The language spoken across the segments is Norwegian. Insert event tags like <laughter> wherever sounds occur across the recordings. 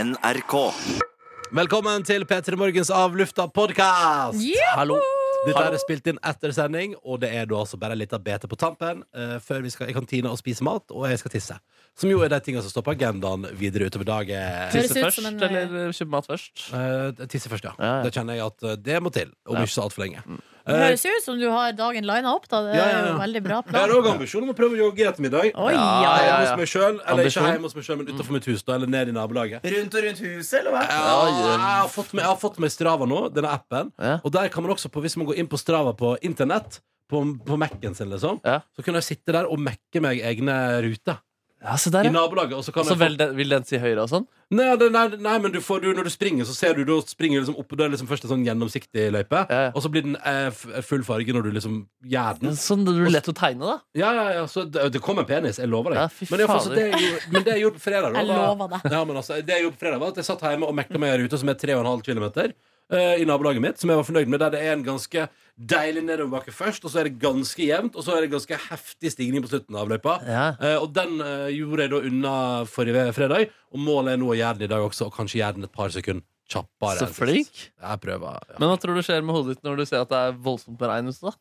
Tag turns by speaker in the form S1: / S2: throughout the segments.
S1: NRK.
S2: Velkommen til P3 Morgens Avlufta podkast!
S3: Juhu!
S2: Hallo! Dette er spilt inn etter sending, og det er da altså bare en liten bete på tampen eh, før vi skal i kantina og spise mat, og jeg skal tisse. Som jo er de tingene som står på agendaen videre utover dagen.
S3: Høres
S4: Tisse
S3: ut
S4: først,
S3: som en,
S4: eller kjøpe mat først?
S2: Eh, tisse først, ja.
S4: Ja, ja.
S2: Da kjenner jeg at eh, det må til, om
S4: Ja.
S2: ikke så altfor lenge. Eh,
S3: Det
S5: Eh,
S3: høres jo ut som du har dagen lina opp, da. Det
S2: Ja,
S3: er
S2: ja, ja.
S3: jo veldig bra
S2: Jeg har
S3: plan.
S2: òg ambisjon om å prøve å jogge i ettermiddag.
S3: Oi,
S4: Ja,
S3: ja,
S4: ja,
S3: ja.
S4: ja.
S2: Hjemme hos meg selv, eller ikke
S4: Ambisjon?
S2: hjemme hos meg sjøl, men utenfor mitt hus, da, eller ned i nabolaget.
S5: Rundt og rundt huset, eller hva?
S2: Ja, jeg, har fått med, jeg har fått med Strava nå, denne appen.
S4: Ja.
S2: Og der kan man også, på, hvis man går inn på Strava på internett, på, på Mac-en sin, liksom,
S4: Ja.
S2: så kunne jeg sitte der og mekke meg egne ruter.
S4: Ja, se der,
S2: I
S4: ja.
S2: nabolaget. Og så kan
S4: Så
S2: jeg
S4: Altså vel, den, vil den si høyre og sånn?
S2: få, nei, det- nei, nei, men du får, du, når du springer, så ser du da springer du liksom opp, Det er liksom først en sånn gjennomsiktig løype,
S4: Ja, ja.
S2: og så blir den eh, f- full farge når du liksom gjør den.
S4: Sånn det er lett å tegne, da.
S2: Ja, ja, ja, så det, det kom en penis, jeg lover deg.
S4: Ja, fy
S2: men, jeg, altså,
S4: fader.
S2: det jeg gjorde, men det jeg gjorde på fredag, da,
S3: Jeg
S2: var-
S3: lover
S2: <laughs>
S3: det.
S2: Ja, men altså, det jeg gjorde på fredag, var at jeg satt hjemme og mekka meg en rute som er 3,5 km i nabolaget mitt, som jeg var fornøyd med, der det er en ganske deilig nedoverbakke først, og så er det ganske jevnt, og så er det ganske heftig stigning på slutten av løypa.
S4: Ja.
S2: Eh, og den eh, gjorde jeg da unna forrige fredag, og målet er nå å gjøre den i dag også, og kanskje gjøre den et par sekunder kjappere. enn
S4: Så
S2: sist.
S4: flink.
S2: Jeg prøver. Ja,
S4: Men hva tror du skjer med hodet ditt når du ser at det er voldsomt med regn ute? da?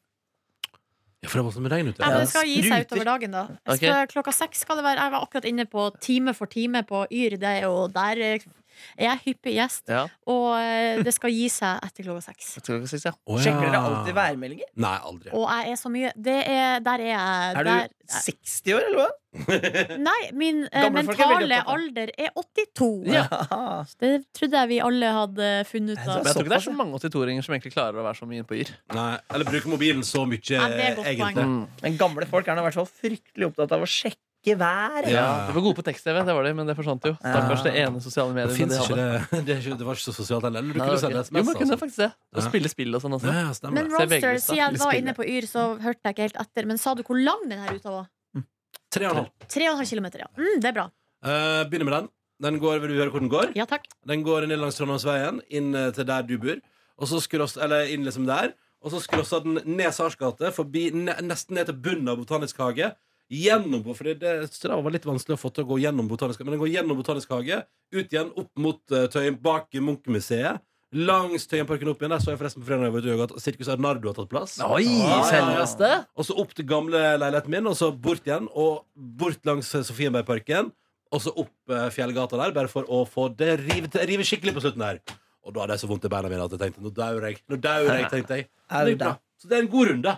S2: ja for det var sånn regn ute.
S3: Nei, men det skal gi seg utover dagen, da. Jeg Skal,
S4: Ok.
S3: Klokka seks skal det være. Jeg var akkurat inne på Time for time på Yr, det, og der eh, er jeg hyppig gjest.
S4: Ja.
S3: Og eh, det skal gi seg etter klokka seks.
S4: Jeg tror ikke jeg sier, ja.
S2: Å, ja.
S5: Sjekker dere alltid værmeldinger?
S2: Nei, aldri.
S3: Og jeg er så mye det er, Der er jeg.
S5: Er du
S3: der,
S5: 60 år, eller hva?
S3: nei, min eh,
S5: Gamle folk er veldig
S3: mentale
S5: opptatt av-
S3: alder er 82.
S4: Ja.
S3: Det trodde jeg vi alle hadde funnet ut
S5: Nei,
S3: av.
S4: Men jeg tror ikke det er så mange 82-åringer som egentlig klarer å være så mye inne på Yr.
S2: Nei, eller bruke mobilen så mye,
S3: Nei, det er et godt poeng.
S2: egentlig.
S4: Mm.
S5: Men gamle folk er nå i hvert fall fryktelig opptatt av å sjekke været.
S2: Ja.
S4: De var gode på tekst-TV, det var de, men det forsvant jo. Stakkars det ene sosiale
S2: Det,
S4: mediet
S2: finnes
S4: de
S2: ikke
S4: hadde.
S2: det. <laughs> Det, er ikke, det var ikke så sosialt heller. Eller Du
S4: Nei,
S2: kunne
S4: det var
S2: sende
S4: ikke-
S2: SMS.
S4: Jo, man kunne
S2: altså.
S4: faktisk det. Og
S2: Ja.
S4: spille spill og sånn også.
S2: Ja, ja, stemmer.
S3: Men
S4: Se VG-lista,
S3: Roadster, siden jeg var
S4: spille.
S3: inne på Yr, så hørte jeg ikke helt etter. Men sa du hvor lang den her ruta var?
S2: Tre og en halv.
S3: 3,5 km, ja. Mm, det er bra.
S2: Eh, begynner med den. Den går, Vil du høre hvor den går?
S3: Ja takk.
S2: Den går ned langs Trondheimsveien, inn eh, til der du bor. Og så skross, eller inn liksom der Og så skrossa den ned Sars gate, forbi- ne, nesten ned til bunnen av Botanisk hage. Gjennom, fordi det Strava var litt vanskelig å få til å gå gjennom Botanisk Men den går gjennom Botanisk hage, ut igjen, opp mot eh, Tøyen, bak Munchmuseet. Langs Tøyenparken opp igjen. Der så jeg forresten på fredag da jeg var ute og jogget at Sirkus Arnardo har tatt plass.
S4: Oi, selveste!
S2: Og så opp til gamle leiligheten min, og så bort igjen. Og bort langs Sofienbergparken. Og så opp eh, fjellgata der, bare for å få det rive, rive skikkelig på slutten der. Og da hadde jeg så vondt i beina mine at jeg tenkte nå daur jeg. Nå daur <laughs> jeg, tenkte jeg. Men det gikk bra. Så det er en god runde.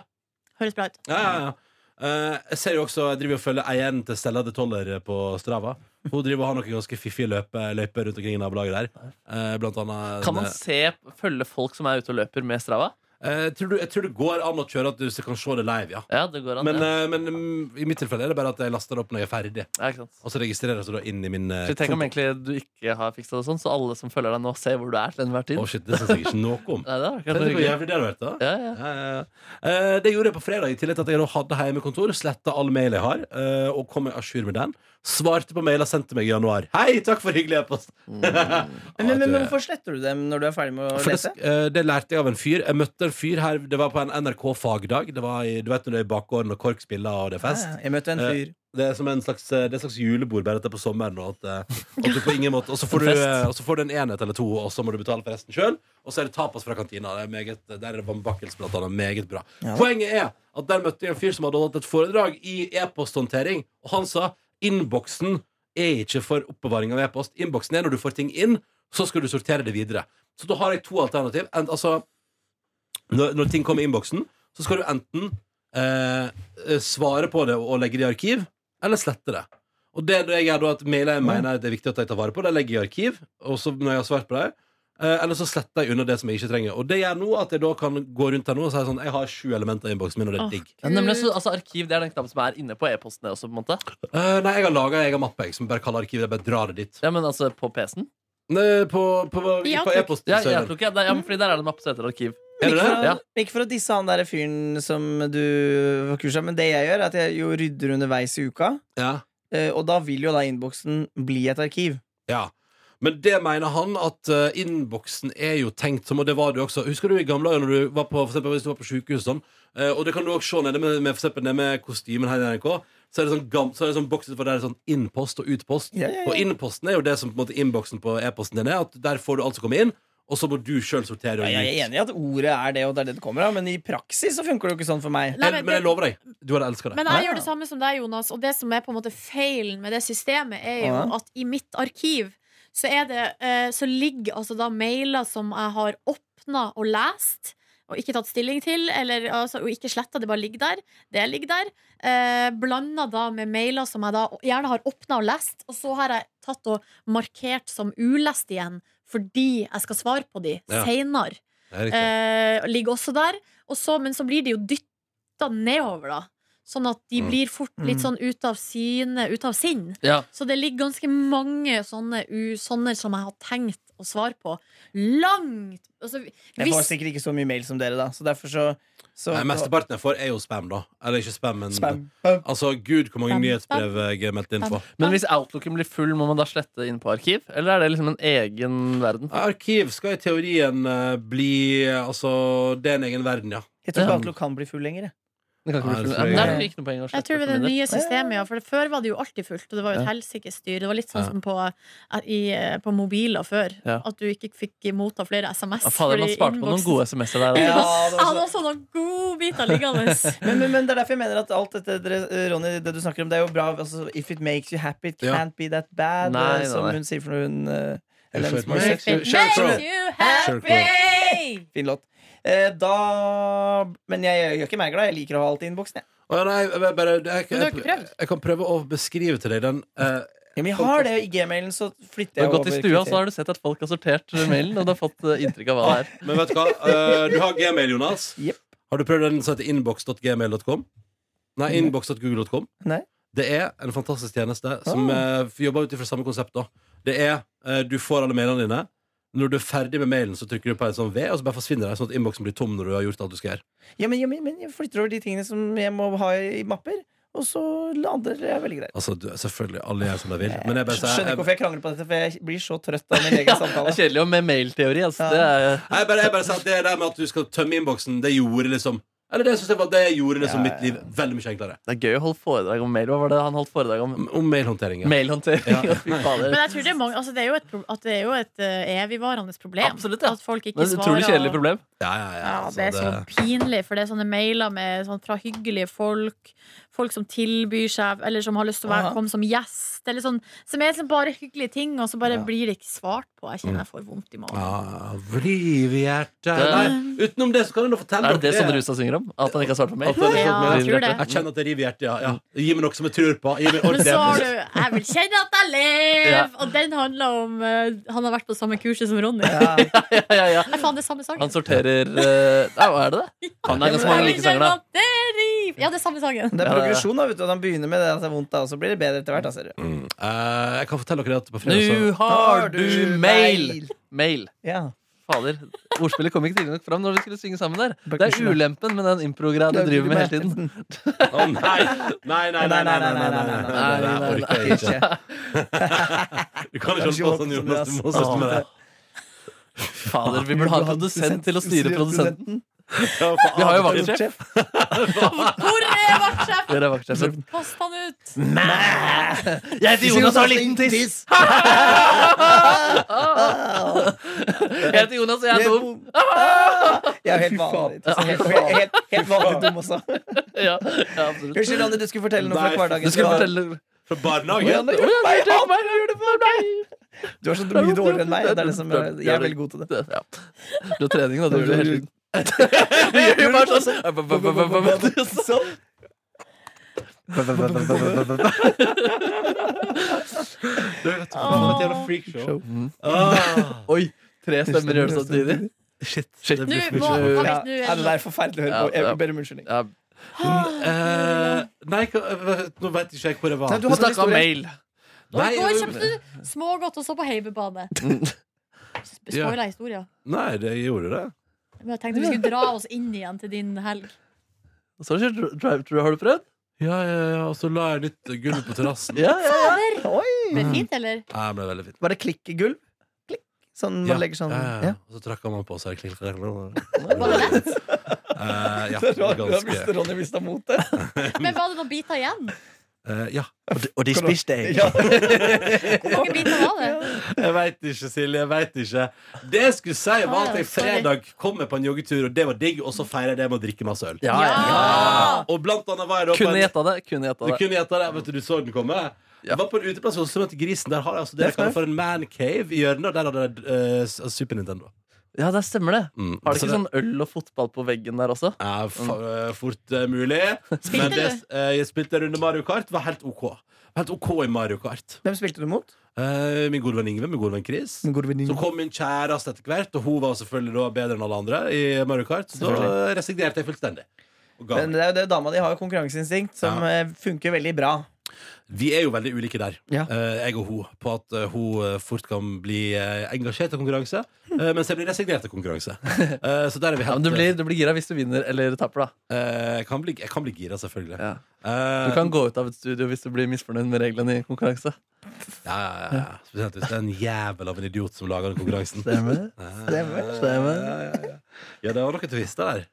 S3: Høres bra ut.
S2: Ja, ja, ja. Eh, jeg ser jo også, jeg driver og følger eieren til Stella de Toller på Strava. Hun driver og har noen ganske fiffige løpe, løyper rundt omkring i nabolaget der. Eh, blant annet
S4: Kan man se, følge folk som er ute og løper med Strava?
S2: Eh, tror du, Jeg tror det går an å kjøre at du kan se det live, ja.
S4: Ja, det går an.
S2: Men,
S4: Sånn, ja.
S2: eh, men mm, i mitt tilfelle er det bare at jeg laster det opp når jeg er ferdig.
S4: Ja, ikke sant?
S2: Og så registrerer jeg det da inn i min eh,
S4: Så tenk om
S2: konto.
S4: egentlig du ikke har fiksa det sånn, så alle som følger deg nå, ser hvor du er til enhver tid.
S2: Å, shit, det syns jeg ikke noe
S4: <laughs>
S2: om.
S4: Nei, det er
S2: Tenk
S4: akkurat noe
S2: hvor
S4: hyggelig.
S2: jævlig det hadde vært, da.
S4: Ja, ja.
S2: Ja, ja, ja. Eh, Det gjorde jeg på fredag, i tillegg til at jeg da hadde hjemmekontor. Sletta all mail jeg har, eh, og kom meg à jour med den. Svarte på mailer sendte meg i januar. Hei, takk for hyggelig e-post!
S5: Men, men, men
S2: Ja,
S5: hvorfor sletter du dem når du er ferdig med å
S2: For det,
S5: lese?
S2: eh, det lærte jeg av en fyr. Jeg møtte en fyr her, det var på en NRK fagdag. Det var i, du vet når det er bakgården og KORK spiller og det er fest.
S5: Ja, Jeg møtte en
S2: Eh,
S5: fyr.
S2: Det er som en slags, eh, det er et slags julebord bare etter på sommeren. Og, at, eh, at du på ingen måte, og, så får du,
S4: En fest.
S2: eh, og så får du en enhet eller to, og så må du betale for resten sjøl. Og så er det tapas fra kantina. Det er meget, der er det vannbakkels blant annet. Meget bra.
S5: Ja.
S2: Poenget er at der møtte jeg en fyr som hadde holdt et foredrag i e-posthåndtering, og han sa innboksen er ikke for oppbevaring av e-post. Innboksen er når du får ting inn, så skal du sortere det videre. Så da har jeg to alternativ. En, altså, når, når ting kommer i innboksen, så skal du enten eh, eh, svare på det og legge det i arkiv, eller slette det. Og det jeg gjør da, at mailer jeg mener det er viktig at jeg tar vare på, det legger jeg i arkiv, og så når jeg har svart på det, eh, eller så sletter jeg unna det som jeg ikke trenger. Og det gjør nå at jeg da kan gå rundt her nå og si sånn, jeg har sju elementer i innboksen min, og det
S3: Åh,
S2: er digg.
S4: Ja, nemlig, så, altså, arkiv det er den knappen som er inne på e-postene også, på en måte.
S2: Eh, nei, jeg har laget en egen mappe, jeg, som bare kaller arkivet, jeg bare drar det dit.
S4: Ja, men altså på PC-en.
S2: Nei, På, på, på,
S3: I
S2: på
S3: Outlook.
S2: e-posten.
S4: Ja, i
S2: søren.
S4: Outlook, ja, der- ja, men fordi der er det en mappe som heter arkiv.
S2: Er det
S5: Ikke for,
S2: det?
S5: å,
S4: Ja.
S5: ikke for å disse han der fyren som du var kurs av, men det jeg gjør, er at jeg jo rydder underveis i uka.
S2: Ja.
S5: eh, Og da vil jo da innboksen bli et arkiv.
S2: Ja. Men det mener han at eh, innboksen er jo tenkt som, og det var det jo også. Husker du i gamle dager når du var på, for eksempel, hvis du var på sykehus og sånn, eh, og det kan du også se nede med, med, for eksempel, nede med kostymen her i NRK, så er det sånn, gam, så er det sånn boks utenfor der det er sånn innpost og utpost.
S5: Ja, ja, ja.
S2: Og innposten er jo det som på en måte innboksen på e-posten din er, at der får du alt som kommer inn, og så må du sjøl sortere og
S5: Ja,
S2: gi
S5: jeg er
S2: ut.
S5: enig i at ordet er det, og det er det det kommer av, men i praksis så funker det jo ikke sånn for meg.
S3: Nei,
S2: Men,
S3: men
S2: men jeg
S3: det-
S2: lover deg, du hadde elska det.
S3: Men jeg gjør det samme som deg, Jonas. Og det som er på en måte feilen med det systemet, er jo
S5: Ja.
S3: at i mitt arkiv så, er det, eh, så ligger altså da mailer som jeg har åpna og lest. Og ikke tatt stilling til, eller altså, og ikke sletta, det bare ligger der. Det ligger der. Eh, Blanda da med mailer som jeg da gjerne har åpna og lest, og så har jeg tatt og markert som ulest igjen, fordi jeg skal svare på de
S2: Ja.
S3: seinere.
S2: Det er riktig.
S3: Eh, ligger også der. Og så, men så blir de jo dytta nedover, da. Sånn at de
S2: Mm.
S3: blir fort litt
S5: Mm.
S3: sånn ut av syne, ut av sinn.
S4: Ja.
S3: Så det ligger ganske mange sånne, u, sånne som jeg har tenkt å svare på. Langt altså,
S5: Jeg får
S3: hvis,
S5: sikkert ikke så mye mail som dere, da, så derfor så, så
S2: Nei, Mesteparten jeg får, er jo spam, da. Eller ikke spam, men
S5: Spam.
S2: Altså, gud, hvor mange
S3: Spam,
S2: nyhetsbrev eh, jeg er meldt inn på.
S4: Men hvis Outlooken blir full, må man da slette inn på arkiv? Eller er det liksom en egen verden?
S2: Arkiv skal i teorien eh, bli eh, Altså, det er en egen verden, ja.
S5: Jeg tror ikke
S4: Ja.
S5: Outlook kan bli full lenger. jeg.
S4: Det kan ikke
S2: Nei,
S4: bli full.
S2: det
S4: Ja,
S2: tror jeg
S5: ikke.
S4: men da er det ikke noe poeng å
S3: jeg
S4: slette.
S3: tror det er
S4: for min
S3: det
S4: del.
S3: nye systemet, ja. For før var det jo alltid fullt, og det var jo et
S4: Ja.
S3: helsikes styr. Det var litt sånn
S2: Ja.
S3: som på, i, eh, på mobiler før.
S4: Ja.
S3: At du ikke fikk motta flere SMS.
S4: Ja, fader, man
S3: fordi
S4: sparte på noen
S3: innboksen-
S4: gode SMS-er
S5: Ja, det
S4: der. altså.
S3: Jeg
S5: var så-
S3: hadde også sånn noen godbiter liggende.
S4: <laughs>
S5: Men, men, men det er derfor jeg mener at alt dette dere- eh, Ronny, det du snakker om, det er jo bra. Altså, if it makes you happy, it
S2: Ja.
S5: can't be that bad.
S4: Nei,
S5: eh,
S4: nei,
S5: som
S4: nei.
S5: hun sier for noe hun eh,
S2: If
S5: Ellen
S2: it
S5: Smith.
S2: makes you- Sheryl
S3: Makes
S2: Crow.
S3: you
S2: Sheryl
S3: happy!
S5: Fin låt. Eh, da Men jeg gjør ikke meg glad. Jeg liker å ha alt i innboksen. jeg.
S2: Å, ja, nei, jeg, jeg, bare, jeg,
S3: Men du har ikke
S2: jeg, jeg,
S3: prøvd?
S2: kan prøve å beskrive til deg den. eh,
S5: Ja, men jeg har det i gmailen, så flytter
S4: Du
S5: jeg
S4: har
S5: over.
S4: gått i stua,
S5: kriterier.
S4: så har du sett at folk har sortert mailen, og du har fått eh, inntrykk av hva det er.
S2: men vet du hva? Eh, du har gmail, Jonas.
S5: Jepp.
S2: Har du prøvd den som heter innboks.gmail.com? Nei,
S5: Nei.
S2: innboks.google.com.
S5: Nei.
S2: Det er en fantastisk tjeneste som
S3: Ah.
S2: eh, jobber ut ifra samme konsept. da Det er eh, Du får alle mailene dine. Når du er ferdig med mailen, så trykker du på en sånn V, og så bare forsvinner det, sånn at innboksen blir tom når du har gjort alt du skal gjøre.
S5: Ja, men, ja, men, men jeg flytter over de tingene som jeg må ha i mapper, og så lander jeg velge der.
S2: Altså, du, selvfølgelig, alle gjør som de
S3: Eh,
S2: vil. Men jeg bare sier eh,
S5: Skjønner ikke
S2: jeg,
S5: hvorfor jeg krangler på dette, for jeg blir så trøtt
S4: <laughs>
S5: av min egen
S4: Det
S5: samtale.
S4: er kjedelig å med mailteori. Altså.
S5: Ja.
S4: Det er,
S2: jeg, bare, jeg bare sier at det der med at du skal tømme innboksen, det gjorde liksom Eller det synes jeg var det gjorde liksom
S5: Ja,
S2: mitt liv veldig mye enklere.
S4: det er gøy å holde foredrag om mail. Hva var det han holdt foredrag om?
S2: Om mailhåndtering. Ja.
S4: Mailhåndtering. <laughs> Fy fader.
S3: Men jeg tror det er, mange, altså det er jo et, pro- at det er jo et eh, evigvarende problem.
S4: Absolutt, ja.
S3: At folk
S4: Men
S3: ikke
S4: det er et
S3: svarer.
S4: Utrolig kjedelig problem.
S2: Ja, ja, ja,
S3: Ja,
S2: altså,
S3: det er så
S2: det-
S3: pinlig, for det er sånne mailer med, sånn, fra hyggelige folk. Folk som tilbyr seg, eller som har lyst til å være,
S5: Aha.
S3: komme som gjest. Eller sånn, som er liksom bare hyggelige ting, og så bare
S5: Ja.
S3: blir det ikke svart på. Jeg kjenner jeg
S4: Mm.
S3: får vondt i magen.
S2: Ja, Riv i hjertet
S4: Det-
S2: Nei, utenom det så kan jeg nå fortelle
S4: Er det det
S2: dere
S4: Sondre Hustad synger om? At han ikke har svart på
S2: At
S4: mail?
S2: det er det
S3: Ja,
S2: som-
S3: jeg tror det.
S2: Jeg kjenner at det river i hjertet, ja, ja. Gi meg noe som jeg tror på Gi meg
S3: Men så har
S2: ordentlig
S3: du 'Jeg vil kjenne at jeg lever', og den handler om eh, Han har vært på samme kurset som Ronny.
S5: Ja.
S4: <laughs> Ja, ja, ja.
S3: Nei, faen, det er samme sangen.
S4: Han sorterer eh, Nei, hva er det det? Han har ganske mange
S3: Jeg vil
S4: like sanger,
S3: kjenne
S4: da.
S3: at det river. Ja, det er samme sangen.
S5: Det er
S4: Ja, det er-
S5: progresjon, da. vet du at Han begynner med det at det er vondt, da, og så blir det bedre etter hvert. Da, ser du.
S2: Mm. Eh, Jeg kan fortelle dere at på fredag
S4: Nå
S2: så
S4: har du mail! Mail.
S5: Ja.
S4: Fader. Ordspillet kom ikke tidlig nok fram når vi skulle synge sammen der. Det er
S5: Beklager.
S4: ulempen med den impro-greia du driver med hele tiden.
S2: Å, nei. Nei, nei, nei, nei, nei, nei, nei, nei, nei, nei, nei, orker jeg ikke.
S5: <laughs> Ikke.
S2: Du kan ikke holde på sånn, Jonas. Du må slutte med det.
S4: Fader, vi burde ha en produsent til å styre produsenten.
S2: Ja, for-
S4: Vi har jo vaktsjef.
S3: Hvor er vaktsjefen?
S4: Vi har vaktsjefen.
S3: Kast han ut!
S4: Jeg heter Jonas og har liten tiss! Jeg heter Jonas, og jeg er dum.
S5: Jeg er Ah! helt vanlig. Helt, helt, helt vanlig dum også.
S4: Ja, ja, absolutt.
S5: Unnskyld, Ronny, du skulle fortelle noe fra
S2: Nei,
S5: hverdagen.
S4: Du skulle fortelle
S2: Fra
S5: Å, ja,
S2: barnehagen?
S5: det
S4: Å,
S5: gjør
S4: ja,
S5: meg.
S4: det gjør meg, jeg gjør det for deg.
S5: Du er så mye dårligere enn meg. Det er det som er, jeg er veldig god til det.
S4: Ja. Du har trening, da. Du gjør det hele tiden. Du gjør jo bare sånn
S5: Sånn.
S2: Faen, et jævla Mm. freakshow. Ah.
S4: Oi! Tre stemmer gjør det samtidig. Shit. Shit.
S3: Nå
S2: blir
S3: må
S2: for mye.
S5: Ja,
S3: Henrik, nå
S5: ja,
S3: er
S5: det
S3: det
S5: er forferdelig å høre på. Jeg ber om unnskyldning.
S4: Ja.
S2: Eh, Nei, hva- nå vet ikke jeg hvor jeg var.
S5: Nei, du
S4: Du
S5: hadde en
S4: snakka om
S5: historie.
S4: mail.
S3: Og i
S2: Nei,
S3: går kjøpte du smågodt og så på heimebane.
S4: Mm.
S3: Spoila historia.
S2: Nei, det gjorde det.
S3: Men jeg tenkte vi skulle dra oss inn igjen til din helg.
S4: Og så har du kjørt drive-thru. Har du prøvd?
S2: Ja, ja, ja, og så la jeg litt gulv på terrassen.
S4: <laughs> Ja, ja, ja.
S5: Oi.
S3: Ble det fint, eller?
S2: Nei, det ble veldig fint.
S5: Var det klikkegulv? Sånn man
S2: Ja,
S5: legger sånn
S2: ja, ja.
S5: ja.
S2: Og så trakka man på seg klikk, klikk, klikk, klikk.
S3: Var det lett?
S2: Eh, Ja,
S5: Det var- Da
S2: ganske
S5: mister Ronny mista motet.
S3: Men var det noen biter igjen?
S2: Eh, Ja.
S1: Og de, og de spiste jeg.
S5: Ja.
S3: Hvor mange biter var det?
S2: Jeg veit ikke, Silje. Jeg vet ikke. Det jeg skulle si, var at jeg fredag kom jeg på en joggetur, og det var digg, og så feirer jeg det med å drikke masse øl.
S4: Ja, ja.
S3: Ja!
S2: Og blant annet var jeg da på
S4: Kunne
S2: en-
S4: gjetta det. Kunne gjetta
S2: Du
S4: det.
S2: kunne gjette det, vet du, du så den komme. Jeg var på en uteplass hos Sønnen til Grisen. Der har jeg altså det jeg kaller for en mancave i hjørnet, og der hadde jeg eh, s- Super Nintendo.
S4: Ja, der stemmer det.
S2: Mm.
S4: Har
S2: Så
S4: dere ikke sånn øl og fotball på veggen der også?
S2: Ja, fa- eh, fort eh, mulig. Men
S3: du?
S2: det, eh, jeg spilte en runde Mario Kart. Var helt OK. Helt OK i Mario Kart.
S5: Hvem spilte du mot?
S2: Eh, min gode venn Ingve, min gode venn Chris.
S4: Mm.
S5: Min gode venninne.
S2: Så kom min kjæreste etter hvert, og hun var selvfølgelig da bedre enn alle andre i Mario Kart. Så da
S5: Selvfølgelig.
S2: resignerte jeg fullstendig. Og ga
S5: Men
S2: meg.
S5: det er jo det, dama di har jo konkurranseinstinkt som
S2: Ja.
S5: eh, funker veldig bra.
S2: Vi er jo veldig ulike der,
S5: Ja.
S2: eh, jeg og hun, på at eh, hun eh, fort kan bli eh, engasjert i konkurranse, eh, mens jeg blir resignert i
S4: <laughs>
S2: konkurranse. Eh, så der er vi
S4: Ja,
S2: helt
S4: men du blir, du blir gira hvis du vinner eller taper, da.
S2: eh, jeg, kan bli, jeg kan bli gira, selvfølgelig.
S4: Ja.
S2: Eh,
S4: Du kan gå ut av et studio hvis du blir misfornøyd med reglene i konkurranse.
S2: ja, ja, ja, ja. Spesielt hvis det er en jævel av en idiot som lager den konkurransen.
S4: Stemmer.
S2: Stemmer. Ja, ja, ja. ja, det var noen twister der.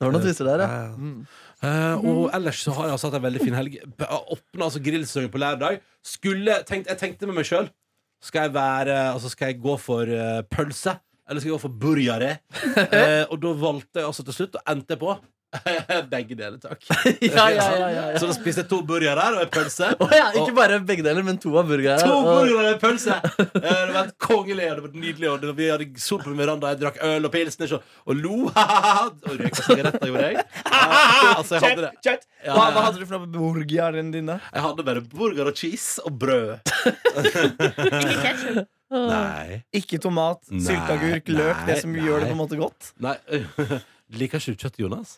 S4: Det var noen twister der, ja.
S2: Ja, ja.
S4: Mm.
S2: Eh, og ellers så har jeg altså hatt en veldig fin helg. B- Åpna altså grillsesongen på lørdag. Skulle, tenkt, jeg tenkte med meg sjøl Skal jeg være Altså skal jeg gå for eh, pølse, eller skal jeg gå for burgere?
S5: <laughs>
S2: Eh, og da valgte jeg altså til slutt, og endte på <laughs> begge deler, takk.
S4: Ja, ja, ja, ja, ja.
S2: Så da spiste jeg to burgere og en
S5: <laughs>
S2: pølse.
S4: Å ja, ikke bare begge deler, men to av burgerne.
S2: To
S4: Og-
S2: burgere og en pølse! Eh, Det var et kongelig, og det var nydelig. Og det- vi hadde sol på veranda, jeg drakk øl og pilsner så- og lo. <laughs> Og røyka sigaretter, gjorde jeg. Eh, altså, jeg hadde det.
S5: Chat, chat.
S2: Ja,
S5: Hva,
S2: ja.
S5: hva hadde du for noe på burgeren din, da?
S2: Jeg hadde bare burger og cheese og brød.
S3: Ikke ketchup.
S2: Nei.
S5: Ikke tomat,
S2: Nei,
S5: sylteagurk, løk, det som
S2: nei,
S5: gjør det på en
S2: nei. <laughs>
S5: måte godt?
S2: Liker ikke du kjøtt, Jonas?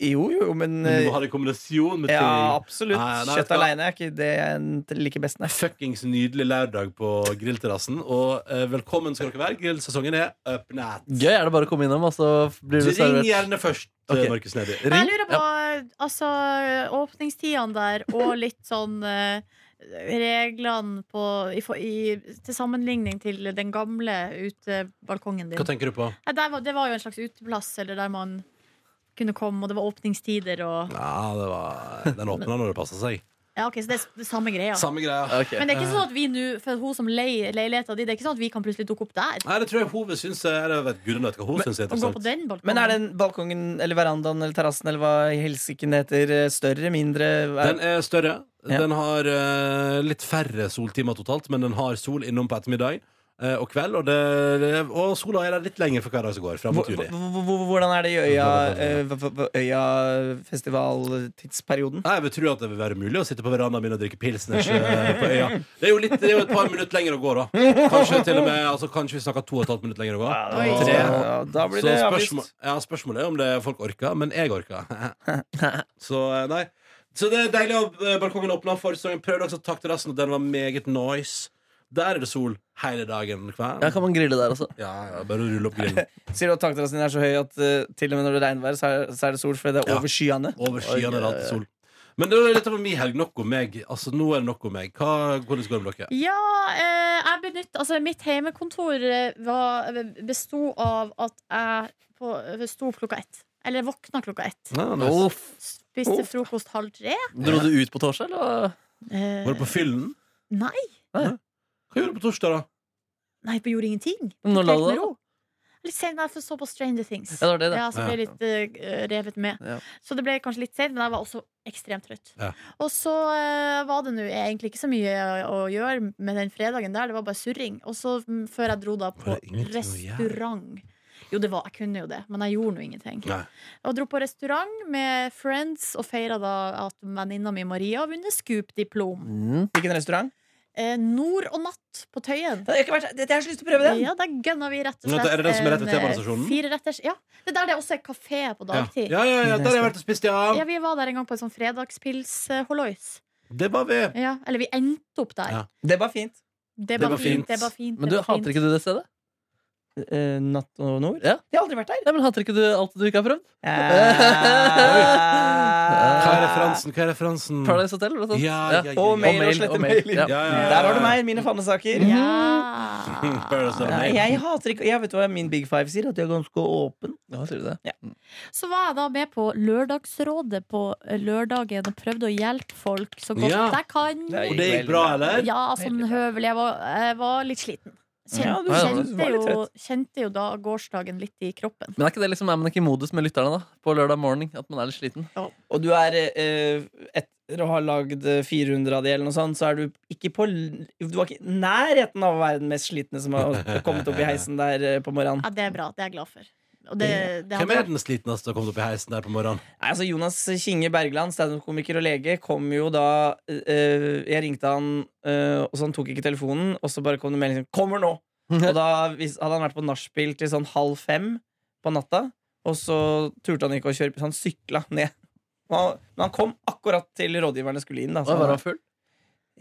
S5: Jo, jo, jo, men eh,
S2: Men du må ha det i kombinasjon med
S5: Ja,
S2: ting.
S5: absolutt.
S2: Nei, nei, vet
S5: Kjøtt
S2: du hva?
S5: aleine er ikke det jeg liker best, nei.
S2: Fuckings nydelig lørdag på grillterrassen. Og eh, velkommen skal dere være. Grillsesongen er up nat.
S4: Gøy er det bare å komme innom, og så blir du
S2: Ring
S4: servert.
S2: gjerne først, eh,
S4: Ok.
S2: Markus Neby.
S3: Men jeg lurer på altså, åpningstidene der og litt sånn eh, reglene på, i, for- i, til sammenligning til den gamle utebalkongen din.
S2: Hva tenker du på?
S3: Nei, der var, det var jo en slags uteplass eller der man kunne komme, og det var åpningstider og
S2: Ja, det var, Den åpna når det passa seg.
S3: Ja, ok, Så det er s- det er samme greia.
S2: Samme greia.
S4: Ok.
S3: Men det er ikke sånn at vi nå, for hun som leier leiligheta di, det er ikke sånn at vi kan plutselig dukke opp der
S2: Nei, det tror jeg hovet syns er- eller jeg vet, Gudene vet hva hun syns er
S3: og gå på
S2: interessant.
S3: den balkongen.
S5: Men er den balkongen eller verandaen eller terrassen eller hva i helsike den heter, eh, større, mindre? Er,
S2: Den er større.
S5: Eh, Ja.
S2: Den har eh, litt færre soltimer totalt, men den har sol innom på ettermiddag eh, og kveld. Og, det, og sola er der litt lenger for hver dag som går. Fram
S5: Hvor-
S2: mot juli.
S5: hvor- hvor- hvordan er det i
S2: sånn,
S5: Øya, eh, v- v- v- Øya-festivaltidsperioden?
S2: Nei, Jeg vil tro at det vil være mulig å sitte på verandaen min og drikke pilsners eh, på øya. Det er jo, litt, det er jo et par minutter lenger å gå, da. Kanskje til og med, altså kanskje vi snakker to og et halvt minutt lenger å gå.
S3: Oi.
S2: Tre.
S5: Ja, da blir
S2: Så
S5: det
S2: spørsmål,
S5: avlyst.
S2: ja, spørsmålet er om det folk orker, men jeg orker. <laughs> Så eh, nei. Så det er deilig at eh, balkongen åpna for sesongen. Prøvde også å takke terrassen, og den var meget nice. Der er det sol hele dagen hver.
S4: Ja, kan man grille der også?
S2: Ja, ja, bare rulle opp
S5: <laughs>
S2: grillen.
S5: Sier du at takterrassen din er så høy at eh, til og med når det er regnvær, så er, så er det sol fordi det er
S2: Ja.
S5: over skyene?
S2: Over skyene er det alltid sol. Men det var litt over min helg. Nok om meg. Altså, nå er det nok om meg. Hva, hvordan går det med dere?
S3: Ja, eh, jeg benytt, altså mitt hjemmekontor eh, var, besto av at jeg på, eh, sto opp klokka ett. Eller våkna klokka ett.
S2: Nei, nei, nei.
S4: Uff.
S3: Spiste frokost halv tre.
S4: Dro du ut på torsdag, eller?
S3: Eh,
S2: Var du på fyllen?
S3: nei,
S2: Hva gjorde du på torsdag, da?
S3: nei, jeg gjorde ingenting.
S4: Når la
S3: Helt
S4: du
S3: med
S4: deg?
S3: ro. Litt sent, nei, for så på Stranger Things.
S4: Ja, det var det, det.
S3: Ja, så ble jeg litt eh, revet med.
S4: Ja.
S3: Så det ble kanskje litt sent, men jeg var også ekstremt trøtt.
S2: Ja.
S3: Og så eh, var det nå egentlig ikke så mye å gjøre med den fredagen der, det var bare surring. Og så mm, før jeg dro da på
S2: Var det ingenting å gjøre?
S3: restaurant jo, det var, jeg kunne jo det, men jeg gjorde nå ingenting.
S2: Nei.
S3: Og dro på restaurant med friends og feira da at venninna mi Maria har vunnet Scoop-diplom.
S4: Mm.
S5: Hvilken restaurant?
S3: Eh, nord og natt på Tøyen.
S5: Det har ikke vært, det, jeg har så lyst til å prøve den!
S3: Ja, der gønna vi rett og
S2: Men
S3: slett
S2: er det den som er rett ved
S3: en, eh,
S2: T-banestasjonen?
S3: Fire retters, ja. Det er der det også er kafé på
S2: Ja.
S3: dagtid.
S2: ja, ja, ja, der har jeg vært og spist,
S3: Ja,
S2: ja.
S3: vi var der en gang på en sånn fredagspils-holois.
S2: Det var vi.
S3: Ja, eller vi endte opp der.
S2: Ja.
S5: Det var fint.
S3: Det var
S2: var
S3: fint.
S2: fint.
S3: Det var fint
S4: Men du,
S3: det var
S4: hater
S3: fint.
S4: ikke du det stedet?
S5: eh, Natt og Nord?
S4: Ja.
S5: Jeg har aldri vært der.
S4: Nei, men Hater ikke du alt du ikke har prøvd?
S2: Hva er
S4: Hva
S2: referansen? Hva er referansen?
S4: Paradise Hotel? Blant annet.
S2: Mm. Ja, ja, ja, ja.
S5: Og mail og
S4: mail,
S5: slette
S4: og mail,
S5: mail.
S4: ja.
S2: Ja, ja, ja.
S5: Der har du meg, mine fanesaker.
S2: <laughs>
S3: Ja.
S2: Paradise Hotel.
S5: Nei, Jeg hater ikke Jeg vet hva min Big Five sier, at jeg er ganske åpen.
S4: Ja, sier du det?
S3: Så var jeg da med på Lørdagsrådet på eh, lørdagen og prøvde å hjelpe folk så godt
S2: Ja.
S3: jeg kan.
S5: Nei.
S2: Og det gikk bra, eller?
S3: Ja, sånn høvelig. Jeg var, jeg var litt sliten.
S5: Ja,
S3: Kjente,
S4: du var-
S5: du
S3: kjente,
S5: var litt
S3: jo, kjente jo da gårsdagen litt i kroppen.
S4: Men er, ikke det liksom, er man ikke i modus med lytterne da på lørdag morgen? At man er litt sliten? <laughs>
S5: Og du er eh, Etter å ha lagd 400 av de, eller noe sånt, så er du ikke på l- Du var ikke i nærheten av å være den mest slitne som har kommet opp i heisen der eh, på morgenen.
S3: Ja, det er bra. Det er jeg glad for. Og det, det
S2: Hvem
S3: hadde-
S2: er den slitneste som har kommet opp i heisen der på morgenen?
S5: Nei, altså Jonas Kinge Bergland, standup-komiker og lege, kom jo da eh, Jeg ringte han, eh, og så han tok ikke telefonen, og så bare kom det melding sånn 'Kommer nå!' Og da hvis, hadde han vært på nachspiel til sånn halv fem på natta, og så turte han ikke å kjøre, så han sykla ned. Og han- Men han kom akkurat til rådgiverne skulle inn. Da, <laughs> så
S4: Oi, var
S5: han,
S4: han full?